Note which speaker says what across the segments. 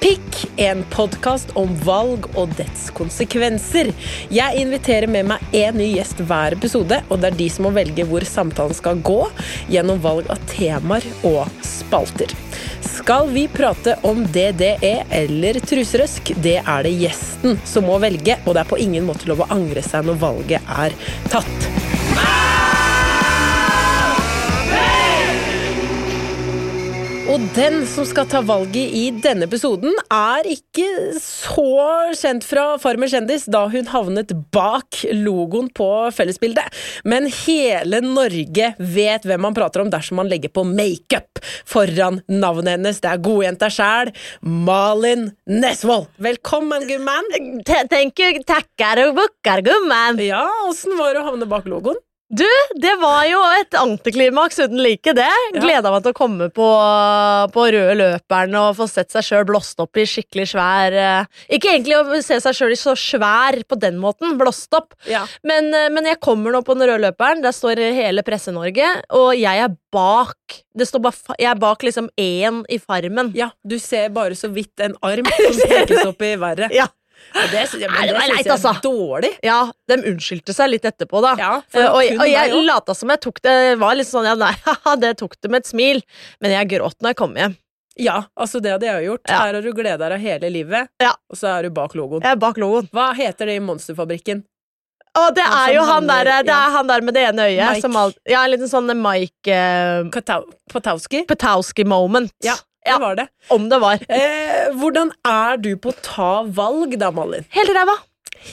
Speaker 1: Pikk, en podkast om valg og dets konsekvenser. Jeg inviterer med meg én ny gjest hver episode, og det er de som må velge hvor samtalen skal gå, gjennom valg av temaer og spalter. Skal vi prate om DDE eller truserøsk? Det er det gjesten som må velge, og det er på ingen måte lov å angre seg når valget er tatt. Og den som skal ta valget i denne episoden, er ikke så kjent fra Farmer kjendis da hun havnet bak logoen på fellesbildet. Men hele Norge vet hvem man prater om dersom man legger på makeup foran navnet hennes. Det er godjenta sjæl, Malin Nesvold. Velkommen, gumman.
Speaker 2: Te- tenker, takker og bukker, gummen.
Speaker 1: Ja, åssen var det å havne bak logoen?
Speaker 2: Du, det var jo et antiklimaks uten like, det.
Speaker 1: Ja.
Speaker 2: Gleda meg til å komme på, på røde løperen og få sett seg sjøl blåst opp i skikkelig svær eh, Ikke egentlig å se seg sjøl i så svær på den måten, blåst opp,
Speaker 1: Ja.
Speaker 2: men, eh, men jeg kommer nå på den røde løperen. Der står hele Presse-Norge, og jeg er bak. Det står bare, fa- jeg er bak liksom én i Farmen.
Speaker 1: Ja, du ser bare så vidt en arm som strekkes opp i været.
Speaker 2: Ja.
Speaker 1: Og det syns jeg, men
Speaker 2: Nei, det
Speaker 1: det
Speaker 2: var
Speaker 1: synes
Speaker 2: leit,
Speaker 1: jeg er
Speaker 2: altså.
Speaker 1: dårlig.
Speaker 2: Ja, De unnskyldte seg litt etterpå, da.
Speaker 1: Ja, for
Speaker 2: Eh, og,
Speaker 1: kun
Speaker 2: og
Speaker 1: deg
Speaker 2: jeg
Speaker 1: også.
Speaker 2: lata som jeg tok det var litt sånn ja, nei, haha, det tok det med et smil, men jeg gråt når jeg kom hjem.
Speaker 1: Ja, altså det hadde jeg jo gjort.
Speaker 2: Ja.
Speaker 1: Her har du gleda deg hele livet,
Speaker 2: Ja.
Speaker 1: og så er du bak logoen.
Speaker 2: Jeg er bak logoen.
Speaker 1: Hva heter det i Monsterfabrikken?
Speaker 2: Og det
Speaker 1: Han
Speaker 2: er jo
Speaker 1: som
Speaker 2: han der, eh,
Speaker 1: handler-
Speaker 2: det
Speaker 1: ja.
Speaker 2: er han der med det ene øyet.
Speaker 1: Mike.
Speaker 2: Som alt, ja, en liten sånn Mike eh,
Speaker 1: Katau Patowski?
Speaker 2: Patowski-moment.
Speaker 1: Ja, det
Speaker 2: Ja.
Speaker 1: var det.
Speaker 2: Om det var.
Speaker 1: Eh, hvordan er du på å ta valg, da, Malin?
Speaker 2: Helt ræva.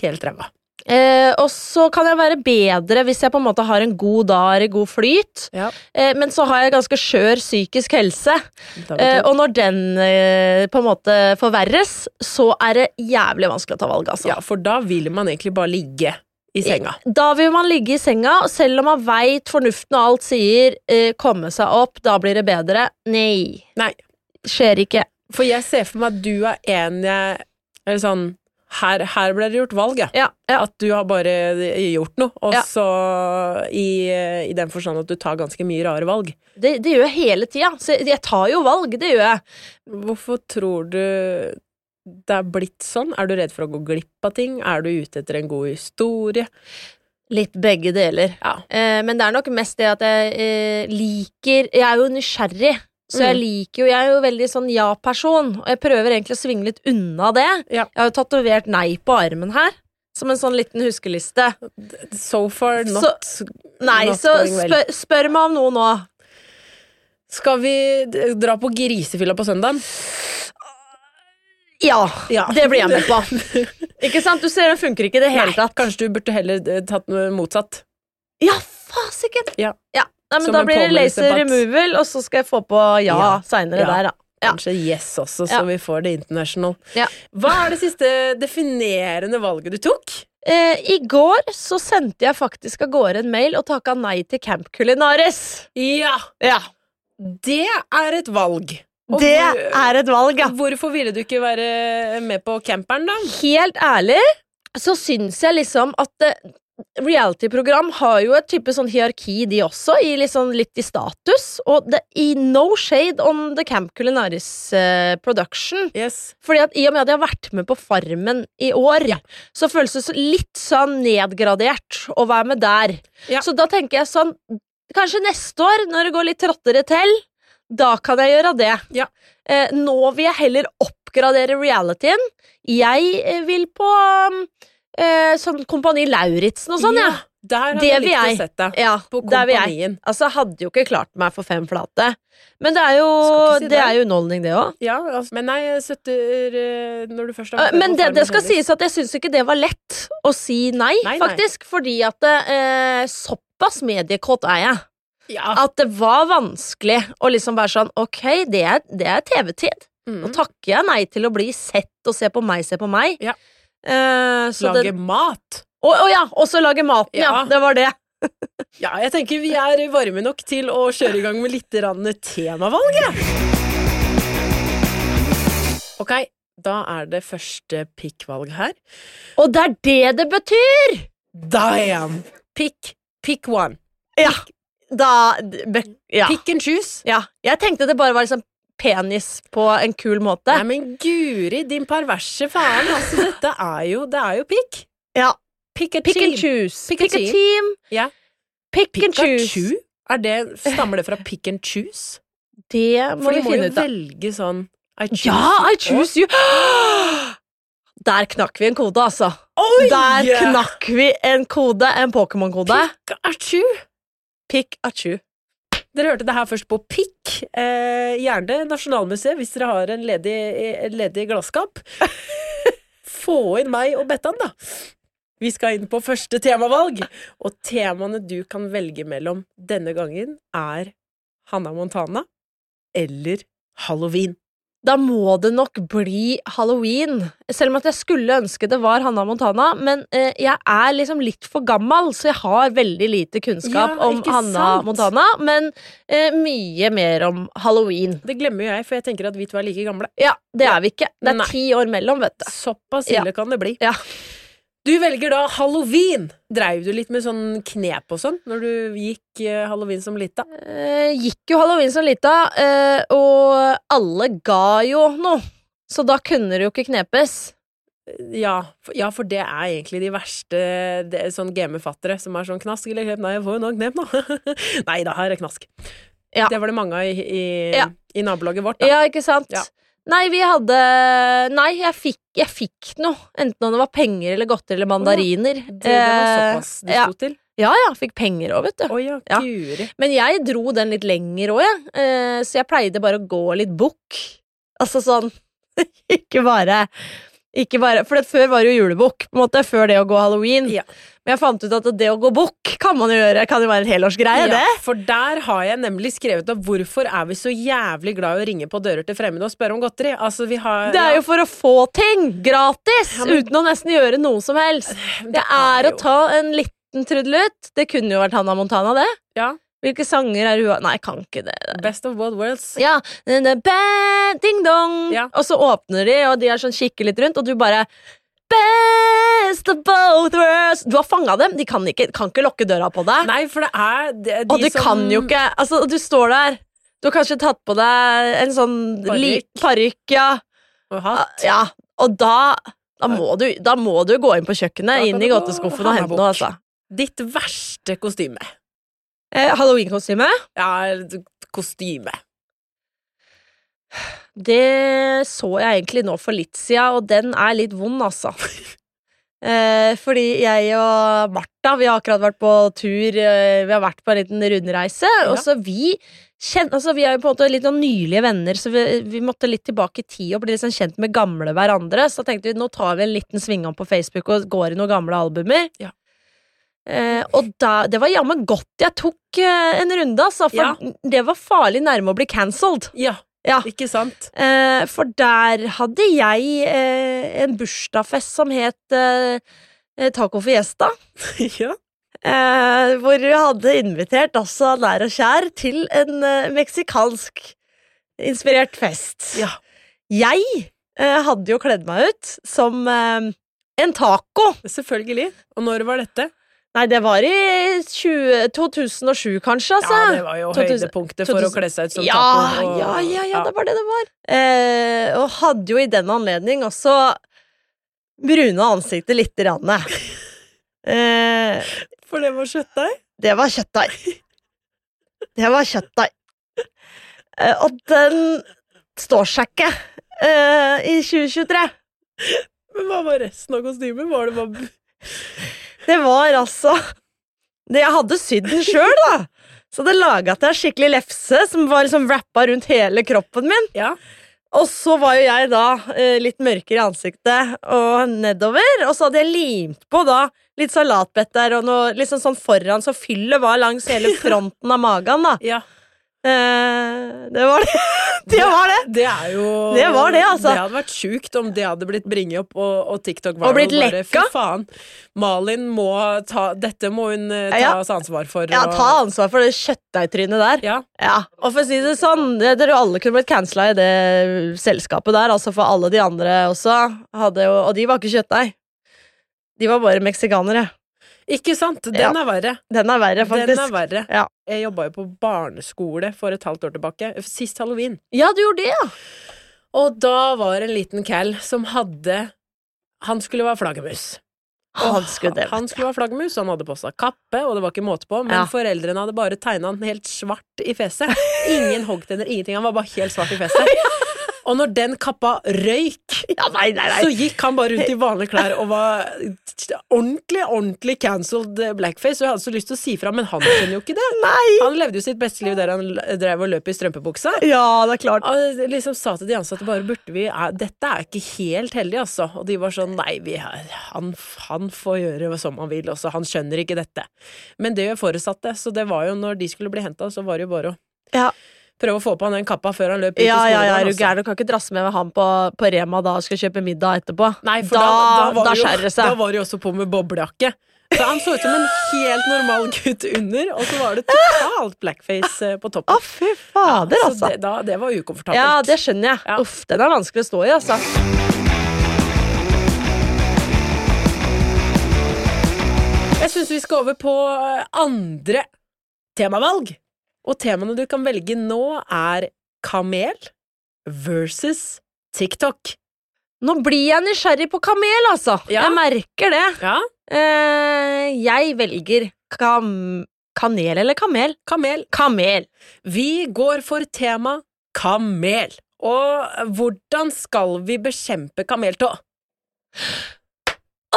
Speaker 1: Helt ræva.
Speaker 2: Eh, og så kan jeg være bedre hvis jeg på en måte har en god dag eller god flyt,
Speaker 1: Ja.
Speaker 2: eh, men så har jeg ganske skjør psykisk helse.
Speaker 1: Da vet
Speaker 2: Eh,
Speaker 1: du.
Speaker 2: og når den eh, på en måte forverres, så er det jævlig vanskelig å ta valg, altså.
Speaker 1: ja, for da vil man egentlig bare ligge i senga.
Speaker 2: Da vil man ligge i senga, og selv om man veit fornuften og alt sier eh, 'komme seg opp, da blir det bedre', nei.
Speaker 1: Nei.
Speaker 2: Skjer ikke.
Speaker 1: For jeg ser for meg at du er en jeg Eller sånn her, her ble det gjort valg, ja.
Speaker 2: Ja, ja.
Speaker 1: At du har bare gjort noe. Og
Speaker 2: Ja.
Speaker 1: så i, i den forstand at du tar ganske mye rare valg.
Speaker 2: Det, det gjør jeg hele tida. Så jeg- jeg tar jo valg, det gjør jeg.
Speaker 1: Hvorfor tror du det er blitt sånn? Er du redd for å gå glipp av ting? Er du ute etter en god historie?
Speaker 2: Litt begge deler.
Speaker 1: Ja.
Speaker 2: Eh, men det er nok mest det at jeg eh, liker Jeg er jo nysgjerrig. Så jeg
Speaker 1: Mm.
Speaker 2: liker jo Jeg er jo veldig sånn ja-person, og jeg prøver egentlig å svinge litt unna det.
Speaker 1: Ja.
Speaker 2: Jeg har jo tatovert nei på armen her, som en sånn liten huskeliste.
Speaker 1: So far not
Speaker 2: Nei,
Speaker 1: Not
Speaker 2: så
Speaker 1: going well.
Speaker 2: spør, spør meg om noe nå.
Speaker 1: Skal vi d- dra på grisefylla på søndag?
Speaker 2: Ja,
Speaker 1: Ja.
Speaker 2: det blir jeg med på. Ikke sant? Du ser, den funker ikke i det hele tatt.
Speaker 1: Kanskje du burde heller eh, tatt noe motsatt.
Speaker 2: Ja, fasiken!
Speaker 1: Ja.
Speaker 2: Nei, men
Speaker 1: Som
Speaker 2: da
Speaker 1: en
Speaker 2: blir det laser
Speaker 1: påminnelsesdebatt.
Speaker 2: removal, og så skal jeg få på ja,
Speaker 1: Ja.
Speaker 2: seinere
Speaker 1: Ja.
Speaker 2: der, da. Ja.
Speaker 1: Kanskje yes også, så
Speaker 2: Ja.
Speaker 1: vi får det international.
Speaker 2: Ja.
Speaker 1: Hva er det siste definerende valget du tok?
Speaker 2: Eh, I går så sendte jeg faktisk av gårde en mail og takka nei til Camp Culinaris.
Speaker 1: Ja,
Speaker 2: Ja,
Speaker 1: det er et valg. Og
Speaker 2: Det
Speaker 1: hvor-
Speaker 2: er et valg, ja.
Speaker 1: Hvorfor ville du ikke være med på camperen, da?
Speaker 2: Helt ærlig så syns jeg liksom at det, reality-program har jo et type sånn hierarki, de også, i litt, sånn, litt i status. Og det, i no shade on the Camp Culinaris eh, production.
Speaker 1: Yes.
Speaker 2: Fordi at I og med at jeg har vært med på Farmen i år, så føles det så litt sånn nedgradert å være med der.
Speaker 1: Ja.
Speaker 2: Så da tenker jeg sånn Kanskje neste år, når det går litt tråttere til, da kan jeg gjøre det.
Speaker 1: Ja.
Speaker 2: Eh, nå vil jeg heller oppgradere realityen. Jeg eh, vil på eh, sånn Kompani Lauritzen og sånn, ja.
Speaker 1: Der har
Speaker 2: Det
Speaker 1: jeg
Speaker 2: vil
Speaker 1: likt
Speaker 2: jeg.
Speaker 1: å sett deg.
Speaker 2: ja.
Speaker 1: På
Speaker 2: der vil jeg.
Speaker 1: kompanien.
Speaker 2: Altså, jeg hadde jo ikke klart meg for fem flate. Men det er jo,
Speaker 1: Skal ikke si
Speaker 2: det.
Speaker 1: det.
Speaker 2: er jo underholdning, det òg.
Speaker 1: Ja, altså, men nei, jeg støtter eh, når du først har
Speaker 2: Eh,
Speaker 1: vært med
Speaker 2: Men
Speaker 1: på
Speaker 2: det, det
Speaker 1: Farmen
Speaker 2: skal
Speaker 1: heller.
Speaker 2: sies at jeg syns ikke det var lett å si nei,
Speaker 1: Nei, nei.
Speaker 2: faktisk. Fordi at eh, såpass mediekåt er jeg.
Speaker 1: ja.
Speaker 2: At det var vanskelig å liksom være sånn Ok, det er, det er TV-tid.
Speaker 1: mm.
Speaker 2: Nå takker jeg nei til å bli sett og se på meg, se på meg.
Speaker 1: Ja.
Speaker 2: Eh, så
Speaker 1: Lage
Speaker 2: det,
Speaker 1: mat.
Speaker 2: å, å ja, også lage maten, ja.
Speaker 1: Ja.
Speaker 2: Det var det.
Speaker 1: Ja, jeg tenker vi er varme nok til å kjøre i gang med litt grann temavalg, jeg. Ok, da er det første pikkvalg her.
Speaker 2: Og det er det det betyr!
Speaker 1: Damn! Pick, pick one.
Speaker 2: Ja. Da be, ja.
Speaker 1: Pick and choose.
Speaker 2: ja. Jeg tenkte det bare var liksom penis på en kul måte.
Speaker 1: Nei, men guri, din perverse faen. Altså, dette er jo Det er jo pick.
Speaker 2: Ja.
Speaker 1: Pick a
Speaker 2: Pick and
Speaker 1: team.
Speaker 2: choose.
Speaker 1: Pick a team. Ja.
Speaker 2: Pick, and choose.
Speaker 1: Pikachu? Er det, stammer det fra pick and choose?
Speaker 2: Det må
Speaker 1: For de
Speaker 2: vi
Speaker 1: må jo
Speaker 2: finne ut av.
Speaker 1: velge sånn I choose
Speaker 2: Ja,
Speaker 1: you.
Speaker 2: I choose you! Der knakk vi en kode, altså.
Speaker 1: Oi!
Speaker 2: Der knakk vi en kode, en Pokémon-kode.
Speaker 1: Pikachu!
Speaker 2: Pikachu.
Speaker 1: Dere hørte det her først på Pikk. Eh, gjerne Nasjonalmuseet hvis dere har en ledig, en ledig glasskap. Få inn meg og Bettan, da. Vi skal inn på første temavalg. Og temaene du kan velge mellom denne gangen, er Hanna Montana eller Halloween.
Speaker 2: Da må det nok bli halloween. Selv om at jeg skulle ønske det var Hanna Montana, men eh, jeg er liksom litt for gammel, så jeg har veldig lite kunnskap
Speaker 1: Ja,
Speaker 2: om
Speaker 1: ikke
Speaker 2: Hanna
Speaker 1: sant?
Speaker 2: Montana, men eh, mye mer om halloween.
Speaker 1: Det glemmer jo jeg, for jeg tenker at vi to er like gamle.
Speaker 2: Ja, det er vi ikke. Det er
Speaker 1: Nei.
Speaker 2: ti år mellom, vet du.
Speaker 1: Såpass ille kan det bli.
Speaker 2: Ja.
Speaker 1: Du velger da halloween. Dreiv du litt med sånn knep og sånn når du gikk eh, halloween som lita?
Speaker 2: Eh, gikk jo halloween som lita, eh, og alle ga jo noe. Så da kunne det jo ikke knepes.
Speaker 1: Ja, for, ja, for det er egentlig de verste det er sånn gamefattere som er sånn knask eller knep. Nei, jeg får jo noen knep, nå. Nei da, her er knask.
Speaker 2: Ja.
Speaker 1: Det var det mange av i, i,
Speaker 2: Ja.
Speaker 1: i nabolaget vårt, da.
Speaker 2: Ja, ikke sant?
Speaker 1: Ja.
Speaker 2: Nei, vi hadde Nei, jeg fikk, jeg fikk noe. Enten om det var penger eller godteri eller mandariner.
Speaker 1: Det, det var såpass
Speaker 2: Eh,
Speaker 1: det
Speaker 2: ja.
Speaker 1: sto til.
Speaker 2: ja, ja, fikk penger òg, vet du.
Speaker 1: Å ja,
Speaker 2: Ja.
Speaker 1: guri.
Speaker 2: Men jeg dro den litt lenger òg, jeg. Eh, så jeg pleide bare å gå litt bukk. Altså sånn Ikke bare ikke bare, For det før var det jo julebukk, på en måte, før det å gå halloween.
Speaker 1: Ja.
Speaker 2: Men jeg fant ut at det å gå bukk kan man jo gjøre, kan jo være en helårsgreie,
Speaker 1: Ja,
Speaker 2: det.
Speaker 1: for der har jeg nemlig skrevet opp hvorfor er vi så jævlig glad i å ringe på dører til fremmede og spørre om godteri. Altså, vi har
Speaker 2: Det er
Speaker 1: ja,
Speaker 2: jo for å få ting gratis, uten å nesten gjøre noe som helst.
Speaker 1: det
Speaker 2: Det er
Speaker 1: er
Speaker 2: å
Speaker 1: jo-
Speaker 2: ta en liten trudelutt. Det kunne jo vært Hanna Montana, det.
Speaker 1: Ja.
Speaker 2: Hvilke sanger er hun Nei, jeg kan ikke det.
Speaker 1: Best of both worlds.
Speaker 2: Ja, den der bad ding dong
Speaker 1: Ja.
Speaker 2: Og så åpner de, og de er sånn kikker litt rundt, og du bare Best of both worlds Du har fanga dem. De kan ikke, kan ikke lukke døra på deg.
Speaker 1: Nei, for det er det, de
Speaker 2: og du
Speaker 1: som
Speaker 2: kan jo ikke Altså, du står der. Du har kanskje tatt på deg en sånn li- parykk, ja.
Speaker 1: Og hatt.
Speaker 2: ja. Og da da må, du, da må du gå inn på
Speaker 1: Da
Speaker 2: kjøkkenet,
Speaker 1: kan
Speaker 2: inn
Speaker 1: du
Speaker 2: i
Speaker 1: gå
Speaker 2: godteskuffen og
Speaker 1: Hanna
Speaker 2: hente noe,
Speaker 1: Bukk.
Speaker 2: altså.
Speaker 1: Ditt verste kostyme.
Speaker 2: Eh, Halloween-kostyme?
Speaker 1: Ja, d- kostyme.
Speaker 2: Det så jeg egentlig nå for litt siden, og den er litt vond, altså. Eh, fordi jeg og Martha vi har akkurat vært på tur, eh, vi har vært på en liten rundreise. Og så vi kjen- altså vi er jo på en måte litt noen nylige venner, så vi, vi måtte litt tilbake i tid og bli litt sånn kjent med gamle hverandre. Så da tenkte vi nå tar vi en liten svingom på Facebook og går i noen gamle albumer.
Speaker 1: Ja.
Speaker 2: Eh, og da, det var jammen godt jeg tok eh, en runde, altså. For
Speaker 1: Ja.
Speaker 2: det var farlig nærme å bli cancelled.
Speaker 1: Ja,
Speaker 2: Ja.
Speaker 1: ikke sant?
Speaker 2: Eh, for der hadde jeg eh, en bursdagsfest som het eh, eh, Taco Fiesta.
Speaker 1: ja.
Speaker 2: Eh, hvor vi hadde invitert altså nær og kjær til en eh, meksikansk inspirert fest.
Speaker 1: Ja.
Speaker 2: Jeg eh, hadde jo kledd meg ut som eh, en taco.
Speaker 1: Selvfølgelig. Og når var dette?
Speaker 2: Nei, det var i 20, 2007, kanskje, altså.
Speaker 1: Ja, det var jo
Speaker 2: 2000
Speaker 1: høydepunktet for å
Speaker 2: 2000
Speaker 1: kle seg ut som
Speaker 2: ja,
Speaker 1: taco. og-
Speaker 2: ja, ja, ja, det var det det var. Eh, og hadde jo i den anledning også bruna ansiktet lite grann. Eh,
Speaker 1: For det var kjøttdeig.
Speaker 2: det var kjøttdeig. Det var kjøttdeig. Eh, og den står seg ikke eh, i 2023.
Speaker 1: Men hva var resten av kostymet? Var det bare
Speaker 2: Det var altså det Jeg hadde sydd den sjøl, da! Så det laga til en skikkelig lefse som var liksom wrappa rundt hele kroppen min.
Speaker 1: Ja.
Speaker 2: Og så var jo jeg da eh, litt mørkere i ansiktet og nedover. Og så hadde jeg limt på da litt salatbetter og noe liksom sånn foran, så fyllet var langs hele fronten av magen, da.
Speaker 1: Ja.
Speaker 2: Eh, det var det. Det var det!
Speaker 1: Det er jo
Speaker 2: Det var det, altså.
Speaker 1: Det hadde vært sjukt om det hadde blitt bringet opp og, og TikTok var
Speaker 2: Og blitt
Speaker 1: bare, Fy
Speaker 2: lekka.
Speaker 1: faen. Malin må ta Dette må hun eh, ta
Speaker 2: Ja.
Speaker 1: oss ansvar for.
Speaker 2: Ja,
Speaker 1: og-
Speaker 2: ta ansvar for det kjøttdeigtrynet der.
Speaker 1: ja.
Speaker 2: Ja, og for å si det sånn, det- dere alle kunne blitt cancela i det selskapet der, altså for alle de andre også, hadde jo, og de var ikke kjøttdeig. De var bare meksikanere.
Speaker 1: Ikke sant? Den
Speaker 2: Ja.
Speaker 1: er verre.
Speaker 2: Den er verre, faktisk.
Speaker 1: Den er verre.
Speaker 2: Ja.
Speaker 1: Jeg jobba jo på barneskole for et halvt år tilbake. Sist halloween.
Speaker 2: Ja, du gjorde det, ja.
Speaker 1: Og da var en liten cal som hadde Han skulle være flaggermus.
Speaker 2: Han skulle det.
Speaker 1: Han skulle være flaggermus, han hadde på seg kappe, og det var ikke måte på, men
Speaker 2: Ja.
Speaker 1: foreldrene hadde bare tegna han helt svart i fjeset. Ingen hoggtenner, ingenting. Han var bare helt svart i fjeset. Og når den kappa røyk,
Speaker 2: Ja, nei, nei, nei.
Speaker 1: så gikk han bare rundt i vanlige klær og var ordentlig, ordentlig cancelled blackface. Og jeg hadde så lyst til å si fra, men han skjønner jo ikke det.
Speaker 2: Nei!
Speaker 1: Han levde jo sitt beste liv der han l- drev og løp i strømpebuksa.
Speaker 2: Ja, det er klart.
Speaker 1: Og jeg liksom sa til de ansatte bare burde vi eh, Dette er ikke helt heldig, altså. Og de var sånn nei, vi, har- han, han får gjøre som han vil også, han skjønner ikke dette. Men det gjør foresatte, så det var jo når de skulle bli henta, så var det jo bare å
Speaker 2: Ja,
Speaker 1: prøve å få på han den kappa før han løp ut i
Speaker 2: ja, ja, ja er
Speaker 1: skolegården.
Speaker 2: du
Speaker 1: altså.
Speaker 2: gæren? Du kan ikke drasse med han på, på Rema da og skal kjøpe middag etterpå.
Speaker 1: Nei, for
Speaker 2: da,
Speaker 1: da, var
Speaker 2: da
Speaker 1: det jo-
Speaker 2: skjærer det seg.
Speaker 1: Da var det jo også på med boblejakke. Så han så ut som en helt normal gutt under, og så var det totalt blackface eh, på toppen.
Speaker 2: Å, fy fader,
Speaker 1: Så
Speaker 2: altså.
Speaker 1: det, da, det var ukomfortabelt.
Speaker 2: Ja, det skjønner jeg.
Speaker 1: Ja.
Speaker 2: Uff, den er vanskelig å stå i, altså.
Speaker 1: Jeg syns vi skal over på eh, andre temavalg. Og temaene du kan velge nå, er kamel versus TikTok.
Speaker 2: Nå blir jeg nysgjerrig på kamel, altså.
Speaker 1: Ja.
Speaker 2: Jeg merker det.
Speaker 1: Ja,
Speaker 2: Eh, jeg velger kam... Kanel eller kamel?
Speaker 1: kamel.
Speaker 2: Kamel.
Speaker 1: Vi går for tema kamel. Og hvordan skal vi bekjempe kameltå?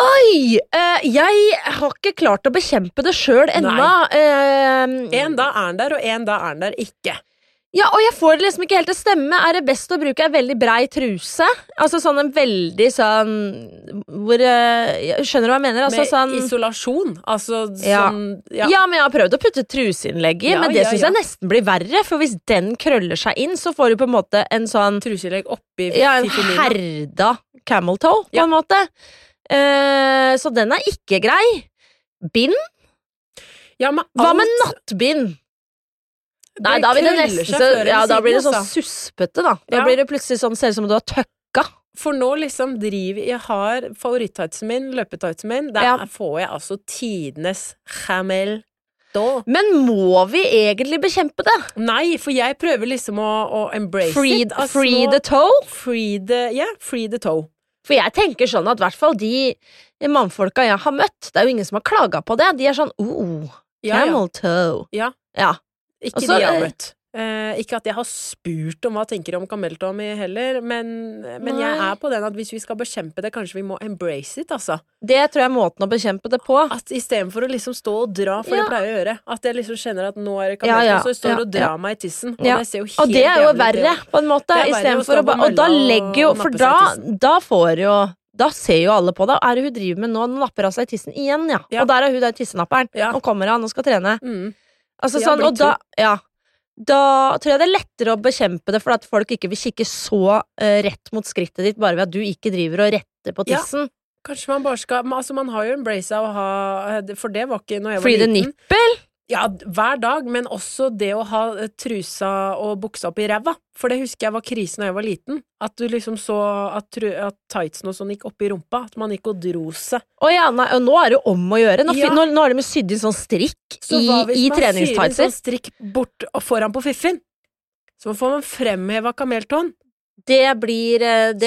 Speaker 2: Oi! Eh, jeg har ikke klart å bekjempe det sjøl ennå. Eh,
Speaker 1: En dag er den der, og en dag er den der ikke.
Speaker 2: ja, og jeg får det liksom ikke helt til å stemme. Er det best å bruke ei veldig brei truse? Altså sånn en veldig sånn Hvor eh, jeg Skjønner du hva jeg mener? Altså
Speaker 1: Med
Speaker 2: sånn
Speaker 1: isolasjon. Altså
Speaker 2: Ja.
Speaker 1: sånn
Speaker 2: ja. men jeg har prøvd å putte truseinnlegg i,
Speaker 1: Ja,
Speaker 2: men det
Speaker 1: ja,
Speaker 2: syns
Speaker 1: ja.
Speaker 2: jeg nesten blir verre. For hvis den krøller seg inn, så får du på en måte en sånn
Speaker 1: Truselegg oppi
Speaker 2: Ja, en
Speaker 1: fiffilina.
Speaker 2: herda camel toe, på
Speaker 1: Ja.
Speaker 2: en måte. Eh, så den er ikke grei. Bind?
Speaker 1: Ja, men
Speaker 2: Hva med
Speaker 1: alt-
Speaker 2: nattbind? Nei, da blir det
Speaker 1: krøller
Speaker 2: nesten
Speaker 1: seg
Speaker 2: så,
Speaker 1: før eller
Speaker 2: ja, da
Speaker 1: siden,
Speaker 2: blir det sånn
Speaker 1: altså.
Speaker 2: suspete, da. Da
Speaker 1: Ja.
Speaker 2: blir det plutselig sånn, ser ut som om du har tøkka.
Speaker 1: For nå liksom driver Jeg har favoritt-tightsen min, løpetightsen min. Der
Speaker 2: Ja.
Speaker 1: får jeg altså tidenes chamel. Da.
Speaker 2: Men må vi egentlig bekjempe det?
Speaker 1: Nei, for jeg prøver liksom å, å embrace
Speaker 2: Free,
Speaker 1: it. Altså,
Speaker 2: free
Speaker 1: nå-
Speaker 2: the toe?
Speaker 1: free the Ja, free the toe.
Speaker 2: For jeg tenker sånn at i hvert fall de mannfolka jeg har møtt, det er jo ingen som har klaga på det. De er sånn oh,
Speaker 1: Ja, ja.
Speaker 2: camel toe.
Speaker 1: ja.
Speaker 2: Ja.
Speaker 1: Ikke
Speaker 2: Og
Speaker 1: de
Speaker 2: så,
Speaker 1: jeg har
Speaker 2: eh,
Speaker 1: møtt. Eh, ikke at jeg har spurt om hva jeg tenker om kameltåa mi heller, men, men jeg
Speaker 2: Nei.
Speaker 1: er på den at hvis vi skal bekjempe det, kanskje vi må embrace it, altså.
Speaker 2: Det tror jeg er måten å bekjempe det på.
Speaker 1: At istedenfor å liksom stå og dra, for
Speaker 2: Ja.
Speaker 1: det pleier jeg å gjøre, at jeg liksom kjenner at nå er det
Speaker 2: Ja,
Speaker 1: kameltåa,
Speaker 2: ja,
Speaker 1: så jeg står
Speaker 2: ja,
Speaker 1: og drar
Speaker 2: ja.
Speaker 1: meg i tissen. Og
Speaker 2: Ja.
Speaker 1: det ser jo helt
Speaker 2: Og det er jo
Speaker 1: jævlig ut,
Speaker 2: verre, på en måte.
Speaker 1: Det er
Speaker 2: i
Speaker 1: verre
Speaker 2: stedet
Speaker 1: å
Speaker 2: for
Speaker 1: stå
Speaker 2: å ba-
Speaker 1: på
Speaker 2: Og da
Speaker 1: mølla
Speaker 2: legger jo
Speaker 1: og
Speaker 2: For
Speaker 1: nappe seg
Speaker 2: da,
Speaker 1: i
Speaker 2: da får jo Da ser jo alle på det. Hva er det hun driver med nå? Nå napper hun seg i tissen igjen, ja.
Speaker 1: Ja.
Speaker 2: Og der er hun der tissenapperen.
Speaker 1: Ja.
Speaker 2: Nå kommer han og skal trene.
Speaker 1: Mm.
Speaker 2: Altså
Speaker 1: Ja,
Speaker 2: sånn,
Speaker 1: blir
Speaker 2: og da Ja. Da tror jeg det er lettere å bekjempe det, for at folk ikke vil kikke så eh, rett mot skrittet ditt bare ved at du ikke driver og retter på
Speaker 1: Ja.
Speaker 2: tissen.
Speaker 1: Kanskje man bare skal men Altså, man har jo embraced av å ha For det var ikke når jeg var
Speaker 2: Free the
Speaker 1: liten.
Speaker 2: nipple?
Speaker 1: Ja, hver dag, men også det å ha eh, trusa og buksa opp i ræva. For det husker jeg var krisen da jeg var liten. At du liksom så at, tru, at tightsen og sånn gikk opp i rumpa. At man gikk og dro seg.
Speaker 2: Å ja, nei, og nå er det om å gjøre. Nå, fi-
Speaker 1: Ja.
Speaker 2: nå, nå er det med sydd inn sånn strikk
Speaker 1: Så
Speaker 2: i,
Speaker 1: hva hvis
Speaker 2: i
Speaker 1: man syr en
Speaker 2: treningstightser.
Speaker 1: sånn strikk bort og foran på fiffen? Så får man fremheva kameltåen.
Speaker 2: Det blir eh, det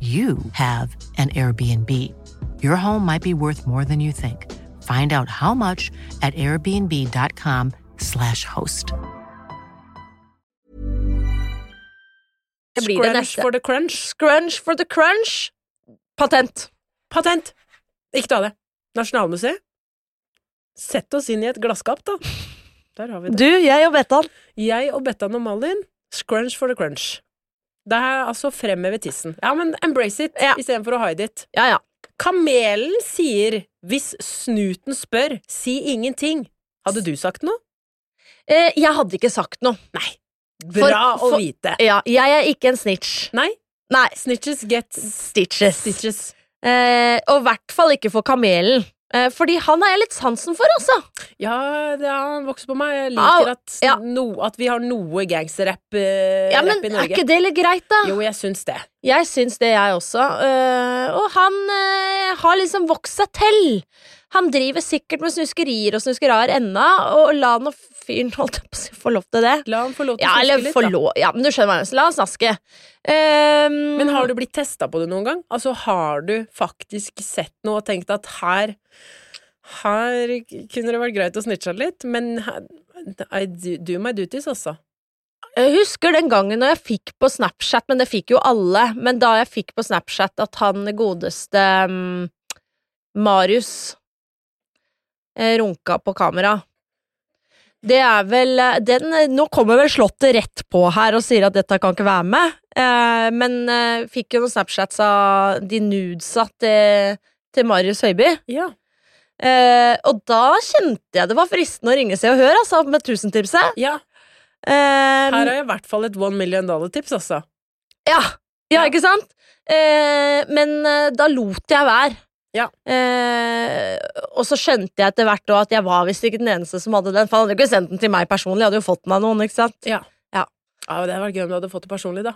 Speaker 3: you have an Airbnb. Your home might be worth more than you think. Find out how much at airbnb.com/slash host.
Speaker 2: Det blir det
Speaker 1: Scrunch
Speaker 2: neste.
Speaker 1: for the crunch.
Speaker 2: Scrunch for the crunch. Patent.
Speaker 1: Patent! Ikke ta det. Nasjonalmuseet. Sett oss inn i et glasskap, da. Der har vi det.
Speaker 2: Du, jeg og Bettan.
Speaker 1: Jeg og Bettan og Malin, scrunch for the crunch. Det er altså fremheve tissen. Ja, men embrace it
Speaker 2: Ja.
Speaker 1: istedenfor å hide it.
Speaker 2: Ja, ja.
Speaker 1: Kamelen sier 'hvis snuten spør, si ingenting'. Hadde du sagt noe?
Speaker 2: Eh, jeg hadde ikke sagt noe.
Speaker 1: Nei.
Speaker 2: For-
Speaker 1: Bra
Speaker 2: for-
Speaker 1: å vite.
Speaker 2: Ja, jeg er ikke en snitch.
Speaker 1: Nei,
Speaker 2: Nei,
Speaker 1: snitches get
Speaker 2: stitches.
Speaker 1: stitches.
Speaker 2: Eh, og i hvert fall ikke for kamelen. Eh, fordi han har jeg litt sansen for, altså.
Speaker 1: Ja, det har vokst på meg. Jeg
Speaker 2: Au,
Speaker 1: liker at,
Speaker 2: ja.
Speaker 1: no, at vi har noe gangsterrapp eh,
Speaker 2: Ja, men
Speaker 1: rapp i
Speaker 2: Er
Speaker 1: Norge.
Speaker 2: ikke det litt greit, da?
Speaker 1: Jo, jeg syns det.
Speaker 2: Jeg syns det, jeg også. Eh, og han eh, har liksom vokst seg til. Han driver sikkert med snuskerier og snuskerier ennå, og la nå fyren holdt jeg på å si, få lov til det.
Speaker 1: La ham få lov til
Speaker 2: Ja,
Speaker 1: å snakke
Speaker 2: eller
Speaker 1: litt,
Speaker 2: få
Speaker 1: da.
Speaker 2: lov Ja, men du skjønner hva jeg mener. så La han snaske. Ehm,
Speaker 1: Men har du blitt testa på det noen gang? Altså, har du faktisk sett noe og tenkt at her Her kunne det vært greit å snitche litt, men her- I do, do my duties, altså.
Speaker 2: Jeg husker den gangen når jeg fikk på Snapchat, men det fikk jo alle, men da jeg fikk på Snapchat at han godeste mm, Marius eh, runka på kamera. Det er vel eh, den, Nå kommer vel Slottet rett på her og sier at dette kan ikke være med, eh, men eh, fikk jo noen Snapchats av de nudesa til, til Marius Høiby.
Speaker 1: Ja.
Speaker 2: Eh, og da kjente jeg det var fristende å ringe Se og Hør altså, med tusentipset.
Speaker 1: ja.
Speaker 2: Eh,
Speaker 1: Her har jeg i hvert fall et one million dollar-tips, altså.
Speaker 2: Ja, ja,
Speaker 1: Ja.
Speaker 2: ikke sant? Eh, men eh, da lot jeg være.
Speaker 1: Ja.
Speaker 2: Eh, og så skjønte jeg etter hvert også at jeg var visst ikke den eneste som hadde den. For han hadde jo ikke sendt den til meg personlig, jeg hadde jo fått den av noen. ikke sant?
Speaker 1: Ja.
Speaker 2: Ja.
Speaker 1: Ja, Det hadde vært gøy om du hadde fått det personlig, da.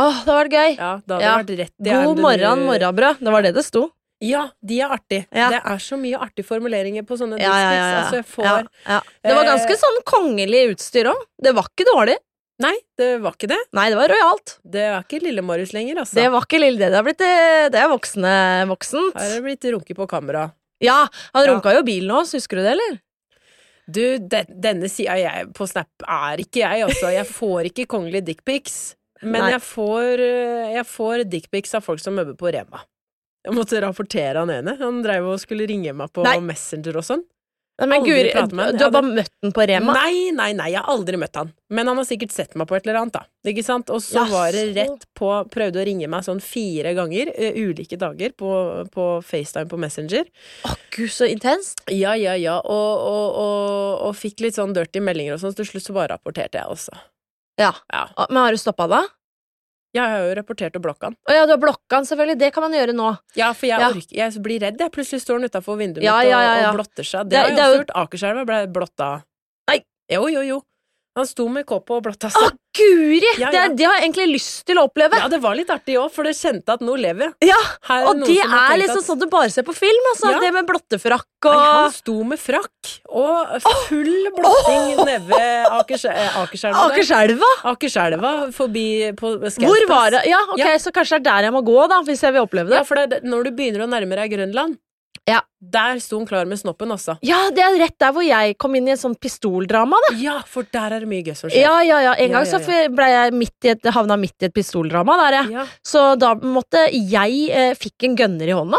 Speaker 2: Åh, det var det gøy.
Speaker 1: Ja, da hadde
Speaker 2: Ja.
Speaker 1: det vært rett i
Speaker 2: God
Speaker 1: æren,
Speaker 2: morgen,
Speaker 1: du-
Speaker 2: morgenbrød. Det var det det sto.
Speaker 1: Ja, de er artig.
Speaker 2: Ja.
Speaker 1: Det er så mye artige formuleringer på sånne
Speaker 2: Ja, ja, ja,
Speaker 1: districts.
Speaker 2: ja.
Speaker 1: Altså, jeg får
Speaker 2: Ja, ja. Det var ganske
Speaker 1: Eh,
Speaker 2: sånn kongelig utstyr òg. Det var ikke dårlig.
Speaker 1: Nei, det var ikke det.
Speaker 2: Nei, det var rojalt.
Speaker 1: Det er ikke Lille-Marius lenger, altså.
Speaker 2: Det var ikke lille det. Det er, blitt, eh, det er voksne, voksent.
Speaker 1: Her er det blitt runke på kamera.
Speaker 2: Ja, han
Speaker 1: Ja.
Speaker 2: runka jo bilen òg, husker du det, eller?
Speaker 1: Du, den, denne sida jeg på Snap er ikke jeg, altså. Jeg får ikke kongelige dickpics. Men
Speaker 2: Nei.
Speaker 1: jeg får, eh, jeg får dickpics av folk som møbber på Rema. Jeg måtte rapportere han ene. Han drev og skulle ringe meg på
Speaker 2: Nei.
Speaker 1: Messenger og sånn.
Speaker 2: Nei, men
Speaker 1: Aldri
Speaker 2: Guri,
Speaker 1: pratet med han.
Speaker 2: du har
Speaker 1: Ja,
Speaker 2: bare møtt den på Rema?
Speaker 1: Nei, nei, nei, jeg har aldri møtt han. Men han har sikkert sett meg på et eller annet, da. Ikke sant? Og så
Speaker 2: Jaså.
Speaker 1: var det rett på Prøvde å ringe meg sånn fire ganger, eh, ulike dager, på, på FaceTime på Messenger.
Speaker 2: Å, gud, så intenst.
Speaker 1: Ja, ja, ja, og, og, og, og fikk litt sånn dirty meldinger og sånn, så til slutt så bare rapporterte jeg også.
Speaker 2: Ja.
Speaker 1: Ja.
Speaker 2: Å, Men har du stoppa da?
Speaker 1: Jeg har jo rapportert og blokka han.
Speaker 2: Å ja, du har blokka den, selvfølgelig. Det kan man gjøre nå.
Speaker 1: Ja, for jeg,
Speaker 2: Ja.
Speaker 1: orker, jeg blir redd, jeg. Plutselig står han utafor vinduet
Speaker 2: Ja,
Speaker 1: mitt og,
Speaker 2: ja, ja, ja.
Speaker 1: og blotter seg. Det,
Speaker 2: Det-
Speaker 1: har jeg
Speaker 2: det er
Speaker 1: også
Speaker 2: jo-
Speaker 1: gjort. Akerselva ble blotta. Nei! Jo, jo, jo. Han sto med kåpa og blotta
Speaker 2: Å,
Speaker 1: seg.
Speaker 2: guri!
Speaker 1: Ja,
Speaker 2: Det,
Speaker 1: ja.
Speaker 2: er- det har jeg egentlig lyst til å oppleve.
Speaker 1: Ja, det var litt artig òg, for det kjente at nå lever jeg.
Speaker 2: Ja,
Speaker 1: Her er
Speaker 2: og
Speaker 1: noen
Speaker 2: det
Speaker 1: som har
Speaker 2: er
Speaker 1: tenkt
Speaker 2: liksom
Speaker 1: at-
Speaker 2: sånn du bare ser på film. Altså,
Speaker 1: Ja.
Speaker 2: Det med blottefrakk
Speaker 1: Nei, han
Speaker 2: og
Speaker 1: sto med frakk og full blotting nede ved Akers- eh, Akerselva. der.
Speaker 2: Akerselva!
Speaker 1: Akerselva, forbi på Skausplass.
Speaker 2: Hvor var det? Ja, ok,
Speaker 1: Ja.
Speaker 2: Så kanskje det er der jeg må gå, da, hvis jeg vil oppleve
Speaker 1: Ja,
Speaker 2: det.
Speaker 1: for det, er det- når du begynner å nærme deg Grønland,
Speaker 2: Ja.
Speaker 1: der sto hun klar med snoppen altså. også.
Speaker 2: Ja, det er rett der hvor jeg kom inn i et sånt pistoldrama. da
Speaker 1: Ja, for der er det mye gøy som skjer.
Speaker 2: Ja, ja, ja. En
Speaker 1: Ja,
Speaker 2: gang
Speaker 1: ja,
Speaker 2: så
Speaker 1: ja.
Speaker 2: f- ble jeg midt i et, havna midt i et pistoldrama. der jeg.
Speaker 1: Ja.
Speaker 2: Så da måtte jeg eh, fikk en gønner i hånda,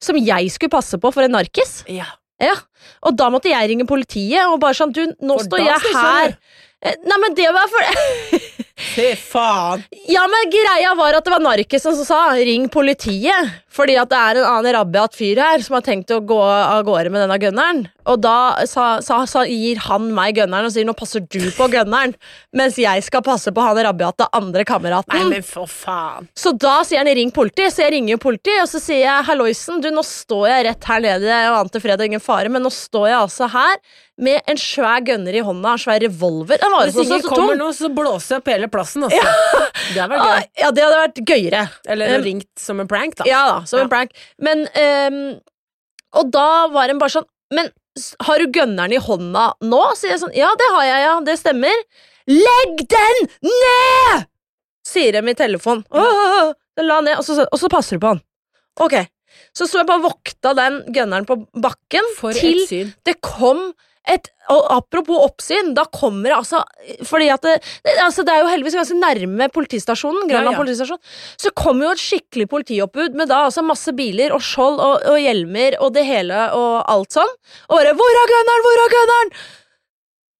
Speaker 2: som jeg skulle passe på for en narkis.
Speaker 1: Ja.
Speaker 2: Ja, Og da måtte jeg ringe politiet og bare sånn Du, nå
Speaker 1: For
Speaker 2: står
Speaker 1: da
Speaker 2: jeg
Speaker 1: snuser
Speaker 2: her.
Speaker 1: du.
Speaker 2: Eh, Nei, men det var for
Speaker 1: Fy faen!
Speaker 2: Ja, men greia var at det var narkisen som sa 'ring politiet', fordi at det er en annen rabiat fyr her som har tenkt å gå av gårde med denne gunneren. Og da sa, sa, sa, gir han meg gunneren og sier 'nå passer du på gunneren', mens jeg skal passe på han rabiate andre kameraten.
Speaker 1: Nei, men for faen.
Speaker 2: Så da sier han 'ring politiet', så jeg ringer jo politiet, og så sier jeg 'halloisen, du, nå står jeg rett her nede, jeg ante fred og ingen fare', men nå står jeg altså her med en svær gunner i hånda, en svær revolver. Den var jo
Speaker 1: Hvis
Speaker 2: så, så,
Speaker 1: ingen
Speaker 2: så
Speaker 1: kommer
Speaker 2: tung.
Speaker 1: nå, så blåser jeg opp hele plassen, altså. Det hadde vært
Speaker 2: Ah,
Speaker 1: gøy.
Speaker 2: Ja, det hadde vært gøyere.
Speaker 1: Eller
Speaker 2: Um,
Speaker 1: ringt som en prank, da.
Speaker 2: Ja da, som en prank. Men ehm, Og da var en bare sånn Men s- har du gunneren i hånda nå? Sier jeg sånn Ja, det har jeg, ja. Det stemmer. Legg den ned! Sier de i telefonen. Åh, den la ned, og så, og så passer du på han. Ok. Så sto jeg bare og vokta den gunneren på bakken
Speaker 1: For
Speaker 2: til
Speaker 1: et syn.
Speaker 2: det kom et og Apropos oppsyn, da kommer det altså Fordi at det, det, altså det er jo heldigvis ganske nærme politistasjonen. Grønland
Speaker 1: Ja, ja.
Speaker 2: politistasjon Så kommer jo et skikkelig politioppbud med da altså masse biler og skjold og, og hjelmer og det hele og alt sånn. Og bare 'Hvor er gunneren? Hvor er gunneren?'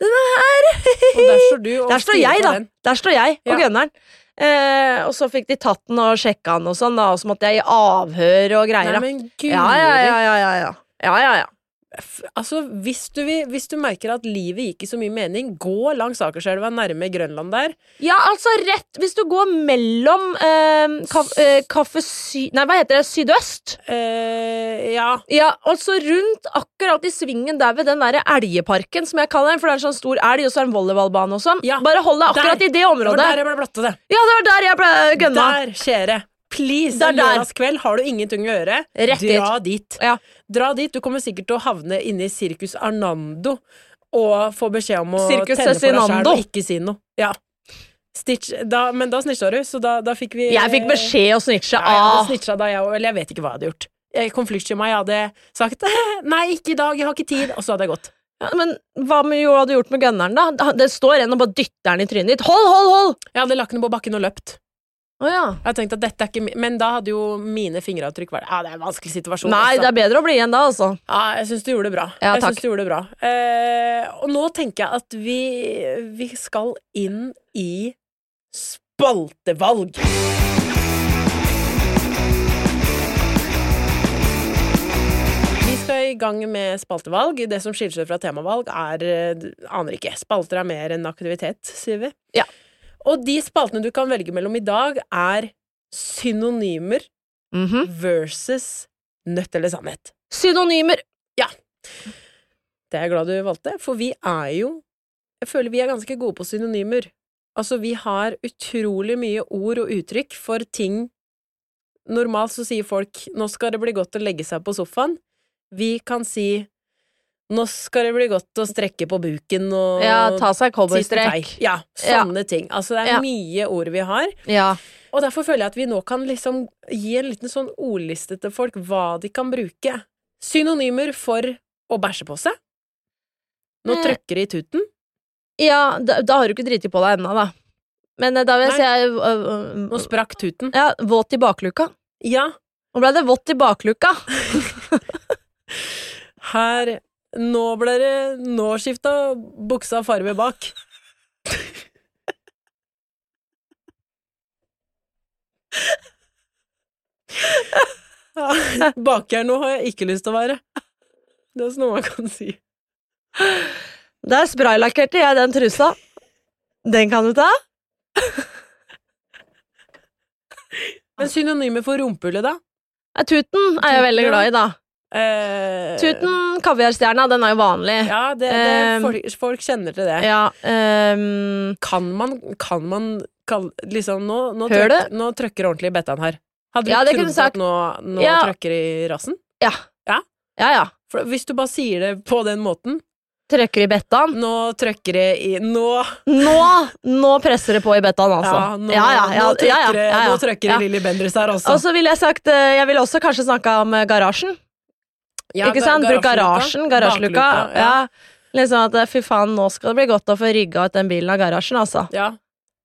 Speaker 2: Den er her!
Speaker 1: Og der står du og
Speaker 2: Der står
Speaker 1: styrer
Speaker 2: jeg,
Speaker 1: på
Speaker 2: da.
Speaker 1: den.
Speaker 2: Der står jeg og
Speaker 1: Ja.
Speaker 2: gunneren. Eh, og så fikk de tatt den og sjekka den, og sånn da og så måtte jeg i avhør og
Speaker 1: Nei,
Speaker 2: greier. da.
Speaker 1: men guri.
Speaker 2: ja, ja, ja, ja, ja, ja. ja, ja, ja.
Speaker 1: F- Altså, hvis du, vil, hvis du merker at livet gir ikke så mye mening, gå langs Akerselva, nærme Grønland der.
Speaker 2: Ja, altså rett Hvis du går mellom eh, kaf, eh, Kaffe sy... Nei, hva heter det? Sydøst?
Speaker 1: Eh, ja.
Speaker 2: Ja, altså rundt akkurat i svingen der ved den der elgeparken, som jeg kaller den, for det er en sånn stor elg, og så er det en volleyballbane og sånn.
Speaker 1: Ja,
Speaker 2: Bare hold deg akkurat
Speaker 1: der.
Speaker 2: i det
Speaker 1: Det var
Speaker 2: området.
Speaker 1: der jeg ble blotta, det.
Speaker 2: ja, det var der jeg ble gønna.
Speaker 1: Der, kjære. Please,
Speaker 2: Der,
Speaker 1: en
Speaker 2: der.
Speaker 1: lørdagskveld har du ingenting å gjøre.
Speaker 2: Rett dit.
Speaker 1: Dra dit.
Speaker 2: Ja.
Speaker 1: Dra dit. Du kommer sikkert til å havne inne i Sirkus Arnando og få beskjed om å
Speaker 2: Circus
Speaker 1: tenne på deg
Speaker 2: Cezinando.
Speaker 1: sjæl og ikke si noe. Ja. Stitch, da, men da snitcha du, så da, da fikk vi
Speaker 2: Jeg fikk beskjed å snitche
Speaker 1: Nei, jeg hadde
Speaker 2: av.
Speaker 1: snitcha da, jeg òg. Eller jeg vet ikke hva jeg hadde gjort. Jeg- Konfliktsky meg, jeg hadde sagt nei, ikke i dag, jeg har ikke tid, og så hadde jeg gått.
Speaker 2: Ja, men hva med, jo, hadde du gjort med gønneren, da? Da- Det står en og bare dytter den i trynet ditt. Hold, hold, hold!
Speaker 1: Jeg hadde lagt den på bakken og løpt.
Speaker 2: Å ja.
Speaker 1: Jeg hadde tenkt at dette er ikke mi Men da hadde jo mine fingeravtrykk vært Ja, det er en vanskelig situasjon.
Speaker 2: Nei,
Speaker 1: altså.
Speaker 2: det er bedre å bli igjen da, altså.
Speaker 1: Ja, jeg syns du gjorde det bra.
Speaker 2: Ja,
Speaker 1: jeg
Speaker 2: takk.
Speaker 1: synes du gjorde det bra. Eh, og nå tenker jeg at vi, vi skal inn i spaltevalg. Vi skal i gang med spaltevalg. Det som skiller seg fra temavalg, er eh, Aner ikke. Spalter er mer en aktivitet, sier vi.
Speaker 2: Ja.
Speaker 1: Og de spaltene du kan velge mellom i dag, er synonymer
Speaker 2: Mhm.
Speaker 1: versus nødt eller sannhet.
Speaker 2: Synonymer.
Speaker 1: Det er jeg glad du valgte, for vi er jo Jeg føler vi er ganske gode på synonymer. Altså, vi har utrolig mye ord og uttrykk for ting Normalt så sier folk 'nå skal det bli godt å legge seg på sofaen'. Vi kan si 'nå skal det bli godt å strekke på buken' og
Speaker 2: Ja, ta seg
Speaker 1: tist og tei.
Speaker 2: cowboystrekk.
Speaker 1: Ja, sånne ting. Altså, det er
Speaker 2: Ja.
Speaker 1: mye ord vi har.
Speaker 2: Ja.
Speaker 1: Og derfor føler jeg at vi nå kan liksom gi en liten sånn ordliste til folk hva de kan bruke. Synonymer for å bæsje på seg. Nå
Speaker 2: Mm.
Speaker 1: trøkker det i tuten.
Speaker 2: Ja, da, da har du ikke driti på deg ennå, da. Men eh, da vil jeg si jeg,
Speaker 1: Nå
Speaker 2: øh, øh,
Speaker 1: sprakk tuten.
Speaker 2: ja, våt i bakluka.
Speaker 1: Ja,
Speaker 2: Nå ble det vått i bakluka.
Speaker 1: her Nå ble det Nå skifta buksa farge bak. Ja, Bakjern nå har jeg ikke lyst til å være. Det er sånn noe man kan si.
Speaker 2: Der spraylakkerte jeg den trusa. Den kan du ta.
Speaker 1: Men synonymer for rumpehulle, da?
Speaker 2: Eh, Tuten er jeg veldig glad i, da.
Speaker 1: Eh,
Speaker 2: Tuten, kaviarstjerna, den er jo vanlig.
Speaker 1: Ja, det, det,
Speaker 2: Ehm.
Speaker 1: folk, folk kjenner til det.
Speaker 2: Ja, ehm,
Speaker 1: Kan man, kan man kall- liksom, Nå, nå,
Speaker 2: Hør
Speaker 1: trøk, nå trøkker ordentlig Bettan her. Hadde du
Speaker 2: Ja, det kunne
Speaker 1: trodd
Speaker 2: sagt-
Speaker 1: at nå, nå
Speaker 2: Ja.
Speaker 1: trøkker i rassen?
Speaker 2: ja.
Speaker 1: Ja.
Speaker 2: Ja, ja.
Speaker 1: For hvis du bare sier det på den måten
Speaker 2: Trøkker i bettaen.
Speaker 1: Nå trøkker det i Nå,
Speaker 2: Nå, nå presser det på i bettaen, altså.
Speaker 1: ja, nå, nå trøkker det Nå trøkker det
Speaker 2: ja.
Speaker 1: Lilly Bendriss her altså. også.
Speaker 2: Og så ville jeg sagt eh, Jeg ville også kanskje snakka om eh, garasjen.
Speaker 1: Ja,
Speaker 2: ikke
Speaker 1: ga-
Speaker 2: sant? Bruk garasjen, garasjeluka.
Speaker 1: bakluka,
Speaker 2: Ja.
Speaker 1: ja.
Speaker 2: Liksom at eh, fy faen, nå skal det bli godt å få rygga ut den bilen av garasjen, altså.
Speaker 1: ja.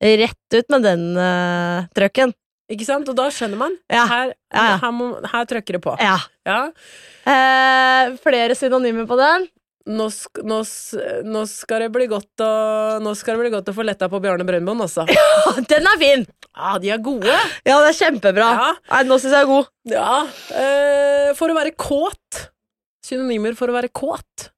Speaker 2: Rett ut med den eh, trøkken.
Speaker 1: Ikke sant? Og da skjønner man.
Speaker 2: Ja.
Speaker 1: Her,
Speaker 2: Ja, ja.
Speaker 1: Her, må, her trøkker det på.
Speaker 2: Ja.
Speaker 1: Ja.
Speaker 2: Eh, flere synonymer på den.
Speaker 1: Nå, sk, nå, s- nå skal det bli godt å Nå skal det bli godt å få letta på Bjarne altså. Brøndbo også. Ja,
Speaker 2: Den er fin!
Speaker 1: de er gode.
Speaker 2: Ja, det er kjempebra.
Speaker 1: Ja.
Speaker 2: Nei, nå syns jeg er god.
Speaker 1: Ja. eh, for å være kåt. Synonymer for å være kåt.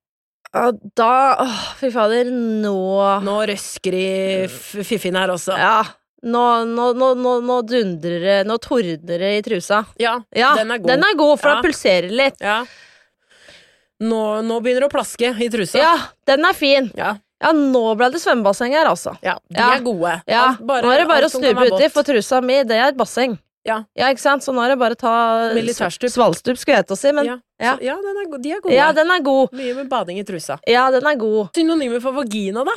Speaker 2: Ja, Da åh, Fy fader, nå
Speaker 1: Nå røsker de f- fiffin her også.
Speaker 2: Ja. Nå, nå, nå, nå, nå dundrer det Nå tordner det i trusa.
Speaker 1: Ja,
Speaker 2: Ja,
Speaker 1: den er god.
Speaker 2: for
Speaker 1: Ja.
Speaker 2: den pulserer litt.
Speaker 1: Ja. Nå, nå begynner det å plaske i trusa.
Speaker 2: Ja, den er fin.
Speaker 1: Ja.
Speaker 2: Ja, nå ble det svømmebasseng her, altså.
Speaker 1: Ja, de
Speaker 2: Ja.
Speaker 1: er gode.
Speaker 2: Ja,
Speaker 1: Alt- bare-
Speaker 2: Nå er det bare
Speaker 1: alt
Speaker 2: å
Speaker 1: som kan
Speaker 2: snuble
Speaker 1: være
Speaker 2: uti,
Speaker 1: vått.
Speaker 2: for trusa mi, det er et basseng.
Speaker 1: Ja.
Speaker 2: ikke sant? Så nå er det bare å ta
Speaker 1: Militærstup.
Speaker 2: Svalstup, skulle jeg til å si, men
Speaker 1: ja. Ja.
Speaker 2: ja.
Speaker 1: Så, ja, den er go- de er gode.
Speaker 2: den er god.
Speaker 1: Mye med bading i trusa.
Speaker 2: Ja, den er god.
Speaker 1: Synonymer for vagina, da?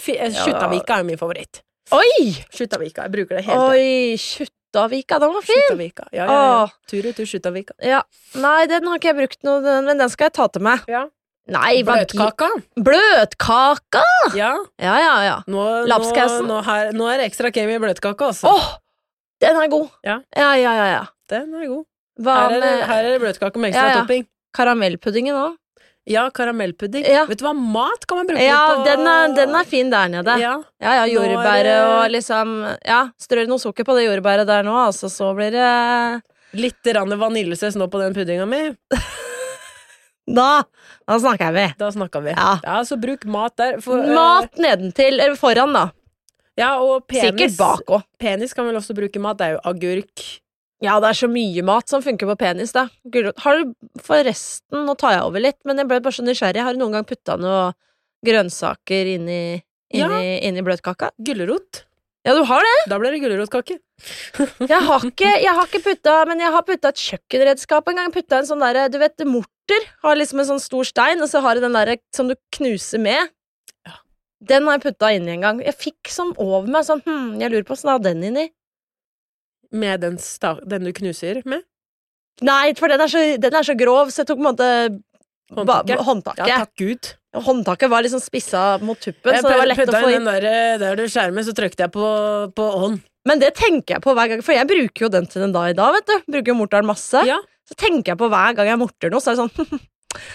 Speaker 1: Fi- eh, Skjuttavika er min favoritt.
Speaker 2: Oi!
Speaker 1: Skjuttavika. Jeg bruker det hele tiden.
Speaker 2: Oi, Kjuttaviga, den var fin!
Speaker 1: Skjuttavika. Ja, ja, ja.
Speaker 2: Åh.
Speaker 1: Tur ut til Skjuttavika.
Speaker 2: Ja. Nei, den har ikke jeg brukt noe, den- men den skal jeg ta til meg.
Speaker 1: Ja.
Speaker 2: Nei, vagi-
Speaker 1: Bløtkaka.
Speaker 2: Bløtkaka!
Speaker 1: Ja.
Speaker 2: Ja, ja, ja.
Speaker 1: Nå, nå,
Speaker 2: Lapskausen.
Speaker 1: nå, her, nå er det ekstra game i bløtkaka, altså.
Speaker 2: Åh, den er god!
Speaker 1: Ja.
Speaker 2: ja, ja, ja. ja.
Speaker 1: Den er god.
Speaker 2: Hva
Speaker 1: Her er,
Speaker 2: med
Speaker 1: det, her er det bløtkake med ekstra
Speaker 2: Ja, ja.
Speaker 1: topping.
Speaker 2: karamellpuddingen òg?
Speaker 1: Ja, karamellpudding.
Speaker 2: Ja.
Speaker 1: Vet du hva, mat kan man bruke
Speaker 2: Ja,
Speaker 1: på
Speaker 2: den er, den er fin der nede.
Speaker 1: Ja.
Speaker 2: Ja, ja,
Speaker 1: Nå er
Speaker 2: jordbæret
Speaker 1: det-
Speaker 2: og liksom Ja, strø noe sukker på det jordbæret der nå, altså, så blir det
Speaker 1: Litt rann vaniljesaus nå på den puddinga mi.
Speaker 2: Da! Da snakker vi.
Speaker 1: Da snakka vi.
Speaker 2: Ja.
Speaker 1: så bruk mat der. For,
Speaker 2: øh,
Speaker 1: eh,
Speaker 2: Mat nedentil, eller foran, da.
Speaker 1: ja, og penis,
Speaker 2: Sikkert bak òg.
Speaker 1: Penis kan vel også bruke mat. Det er jo agurk.
Speaker 2: Ja, det er så mye mat som funker på penis, da. Gulrot. Har du forresten Nå tar jeg over litt, men jeg ble bare så nysgjerrig. Har du noen gang putta noe grønnsaker inni,
Speaker 1: Ja.
Speaker 2: inni, inni bløtkaka?
Speaker 1: Gulrot.
Speaker 2: Ja, du har det!
Speaker 1: Da ble det gulrotkake.
Speaker 2: Jeg har ikke, jeg har ikke putta Men jeg har putta et kjøkkenredskap en gang. Putta en sånn derre Du vet, morter har liksom en sånn stor stein, og så har du den derre som du knuser med. Den har jeg putta inni en gang. Jeg fikk sånn over meg sånn Hm, jeg lurer på åssen jeg hadde den inni.
Speaker 1: Med den, sta den du knuser med.
Speaker 2: Nei, for den er, så, den er så grov, så jeg tok på en måte ba-
Speaker 1: Håndtaket.
Speaker 2: håndtaket.
Speaker 1: Ja, takk Gud.
Speaker 2: Håndtaket var liksom spissa mot tuppen,
Speaker 1: Jeg
Speaker 2: så det var lett å
Speaker 1: putta
Speaker 2: få
Speaker 1: inn
Speaker 2: inn.
Speaker 1: den der, eh, der du skjermer, så trykte jeg på, på on.
Speaker 2: Men det tenker jeg på hver gang, for jeg bruker jo den til den dag i dag, vet du. Bruker jo morteren masse.
Speaker 1: Ja.
Speaker 2: Så tenker jeg på hver gang jeg morter noe, så er det sånn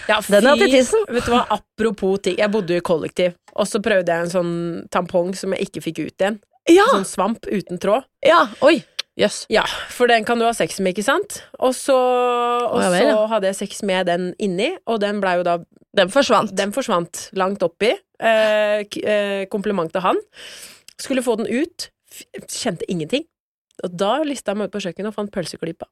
Speaker 1: Ja,
Speaker 2: Den er
Speaker 1: fy-
Speaker 2: til tissen.
Speaker 1: Vet du hva, apropos ting. Jeg bodde jo i kollektiv, og så prøvde jeg en sånn tampong som jeg ikke fikk ut igjen.
Speaker 2: Ja!
Speaker 1: Sånn svamp uten tråd.
Speaker 2: Ja! Oi! Jøss.
Speaker 1: Ja, for den kan du ha sex med, ikke sant? Og så, og
Speaker 2: ja vel,
Speaker 1: så
Speaker 2: ja.
Speaker 1: hadde jeg sex med den inni, og den blei jo da
Speaker 2: Den forsvant.
Speaker 1: Den forsvant langt oppi. Eh, k- eh, kompliment til han. Skulle få den ut. F kjente ingenting. Og da lista jeg meg ut på kjøkkenet og fant pølseklypa.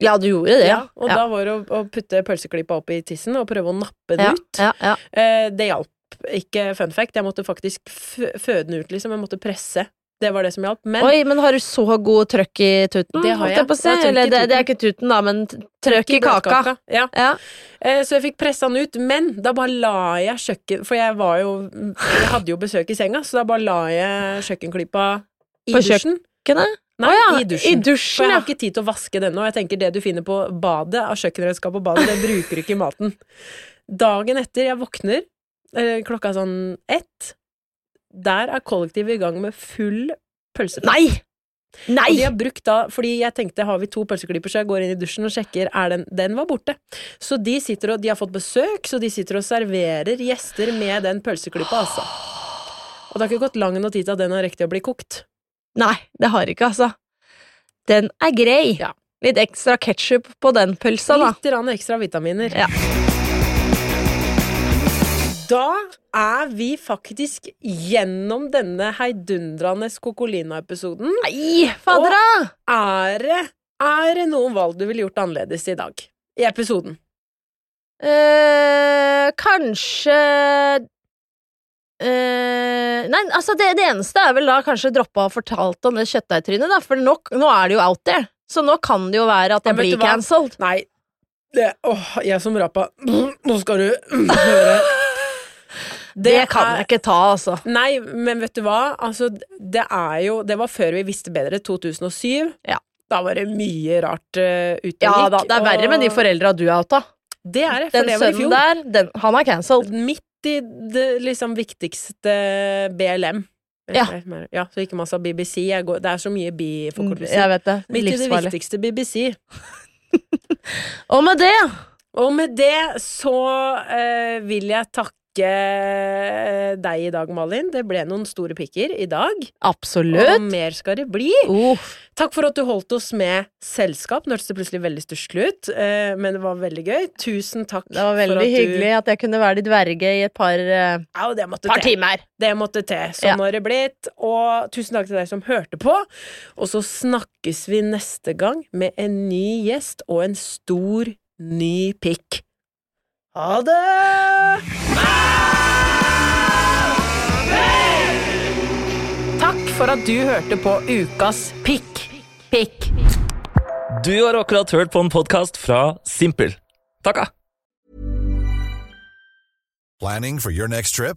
Speaker 2: Ja, du gjorde det, ja.
Speaker 1: og da var det å, å putte pølseklypa opp i tissen og prøve å nappe den
Speaker 2: ja,
Speaker 1: ut.
Speaker 2: ja, ja.
Speaker 1: Eh, det hjalp ikke, fun fact. Jeg måtte faktisk f føde den ut, liksom. Jeg måtte presse. Det var det som hjalp. Men
Speaker 2: Oi, men har du så god trøkk i tuten?
Speaker 1: Det har
Speaker 2: holdt
Speaker 1: jeg.
Speaker 2: på å si?
Speaker 1: Jeg har trøkk i
Speaker 2: Eller det, det
Speaker 1: tuten.
Speaker 2: er ikke tuten, da, men t- trøkk i kaka.
Speaker 1: bløtkaka. Ja.
Speaker 2: Ja.
Speaker 1: Eh, Så jeg fikk pressa den ut, men da bare la jeg kjøkken... For jeg var jo Jeg hadde jo besøk i senga, så da bare la jeg kjøkkenklypa i
Speaker 2: På kjøk-
Speaker 1: dusjen.
Speaker 2: Ikke det?
Speaker 1: Nei,
Speaker 2: Å ja,
Speaker 1: i dusjen.
Speaker 2: i dusjen,
Speaker 1: for jeg
Speaker 2: ja.
Speaker 1: har ikke tid til å vaske den nå. Jeg tenker det du finner på badet av kjøkkenredskap på badet, det bruker du ikke i maten. Dagen etter jeg våkner, eh, klokka er sånn ett, der er kollektivet i gang med full pølsefest.
Speaker 2: Nei! Nei!
Speaker 1: Og De har brukt da, fordi jeg tenkte har vi to pølseklyper, så jeg går inn i dusjen og sjekker er den, den var borte. Så de sitter og, de har fått besøk, så de sitter og serverer gjester med den pølseklypa, altså. Og det har ikke gått lang nok tid til at den har rekt til å bli kokt.
Speaker 2: Nei, det har ikke, altså. Den er grei.
Speaker 1: Ja.
Speaker 2: Litt ekstra ketsjup på den pølsa, da.
Speaker 1: Litt grann ekstra vitaminer.
Speaker 2: Ja.
Speaker 1: Da er vi faktisk gjennom denne heidundrende Kokolina-episoden.
Speaker 2: Nei, fadera!
Speaker 1: Er det, er det noen valg du ville gjort annerledes i dag? I episoden.
Speaker 2: Eh, kanskje eh, Nei, altså, det, det eneste er vel da kanskje droppe å ha fortalt om det kjøttdeigtrynet, da, for nå, nå er det jo out there. Så nå kan det jo være at
Speaker 1: Men
Speaker 2: jeg
Speaker 1: vet
Speaker 2: blir
Speaker 1: du hva?
Speaker 2: cancelled.
Speaker 1: Nei. Det, åh, jeg som rapa Nå skal du høre.
Speaker 2: Det, kan jeg ikke ta, altså.
Speaker 1: Nei, men vet du hva? Altså, det er jo Det var før vi visste bedre, 2007.
Speaker 2: Ja.
Speaker 1: Da var det mye rart uh, ute og
Speaker 2: Ja
Speaker 1: gikk,
Speaker 2: da, Det er
Speaker 1: og-
Speaker 2: verra med de foreldra du er outa.
Speaker 1: Det er det, for
Speaker 2: Den
Speaker 1: det var i
Speaker 2: sønnen
Speaker 1: fjor.
Speaker 2: der, den, han er cancelled.
Speaker 1: Midt i det liksom viktigste BLM.
Speaker 2: Ja.
Speaker 1: ja så ikke man sa BBC. Jeg går, det er så mye
Speaker 2: Jeg
Speaker 1: bi-forkortelser.
Speaker 2: vet Mm, det.
Speaker 1: Midt i det
Speaker 2: Livsfarlig.
Speaker 1: viktigste BBC.
Speaker 2: Og med det
Speaker 1: Og med det så eh, vil jeg takke eh, deg i dag, Malin. Det ble noen store pikker i dag. Og
Speaker 2: Absolutt.
Speaker 1: mer skal det bli.
Speaker 2: Uff.
Speaker 1: Takk for at du holdt oss med selskap. Nå hørtes det plutselig veldig stusslig ut, eh, men det var veldig gøy. Tusen takk
Speaker 2: Det var
Speaker 1: for
Speaker 2: veldig
Speaker 1: at
Speaker 2: hyggelig at jeg kunne være ditt verge i et par, eh,
Speaker 1: du Au, det måtte
Speaker 2: par
Speaker 1: til.
Speaker 2: timer.
Speaker 1: Det måtte til. Sånn
Speaker 2: Ja.
Speaker 1: har det blitt. Og tusen takk til deg som hørte på. Og så snakkes vi neste gang med en ny gjest og en stor, ny pikk. Ha det! Takk for at du hørte på Ukas pikk. Pikk.
Speaker 4: Du har akkurat hørt på en podkast fra Simpel. Takka!
Speaker 5: Planning for your next trip?